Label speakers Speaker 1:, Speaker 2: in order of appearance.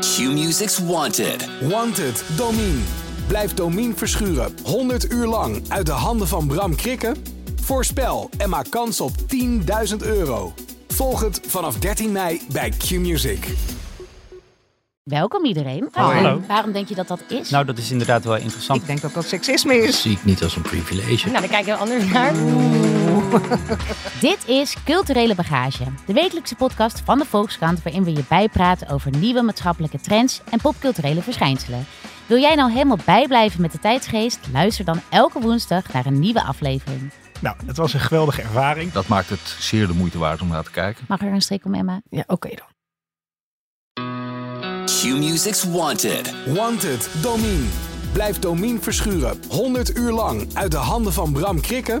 Speaker 1: Q-Music's Wanted.
Speaker 2: Wanted, Domien. Blijf Domien verschuren 100 uur lang uit de handen van Bram Krikke? Voorspel en maak kans op 10.000 euro. Volg het vanaf 13 mei bij Q-Music.
Speaker 3: Welkom iedereen.
Speaker 4: Oh,
Speaker 5: Hallo.
Speaker 3: Waarom denk je dat dat is?
Speaker 5: Nou, dat is inderdaad wel interessant.
Speaker 6: Ik denk dat dat seksisme is.
Speaker 7: zie ik niet als een privilege.
Speaker 8: Nou, daar kijken we anders naar.
Speaker 3: Dit is Culturele Bagage, de wekelijkse podcast van de Volkskrant waarin we je bijpraten over nieuwe maatschappelijke trends en popculturele verschijnselen. Wil jij nou helemaal bijblijven met de tijdsgeest? Luister dan elke woensdag naar een nieuwe aflevering.
Speaker 4: Nou, het was een geweldige ervaring.
Speaker 7: Dat maakt het zeer de moeite waard om naar te kijken.
Speaker 3: Mag er een streek om Emma?
Speaker 6: Ja, oké dan.
Speaker 1: Q-Music's Wanted.
Speaker 2: Wanted, Domien. Blijf Domien verschuren 100 uur lang uit de handen van Bram Krikke?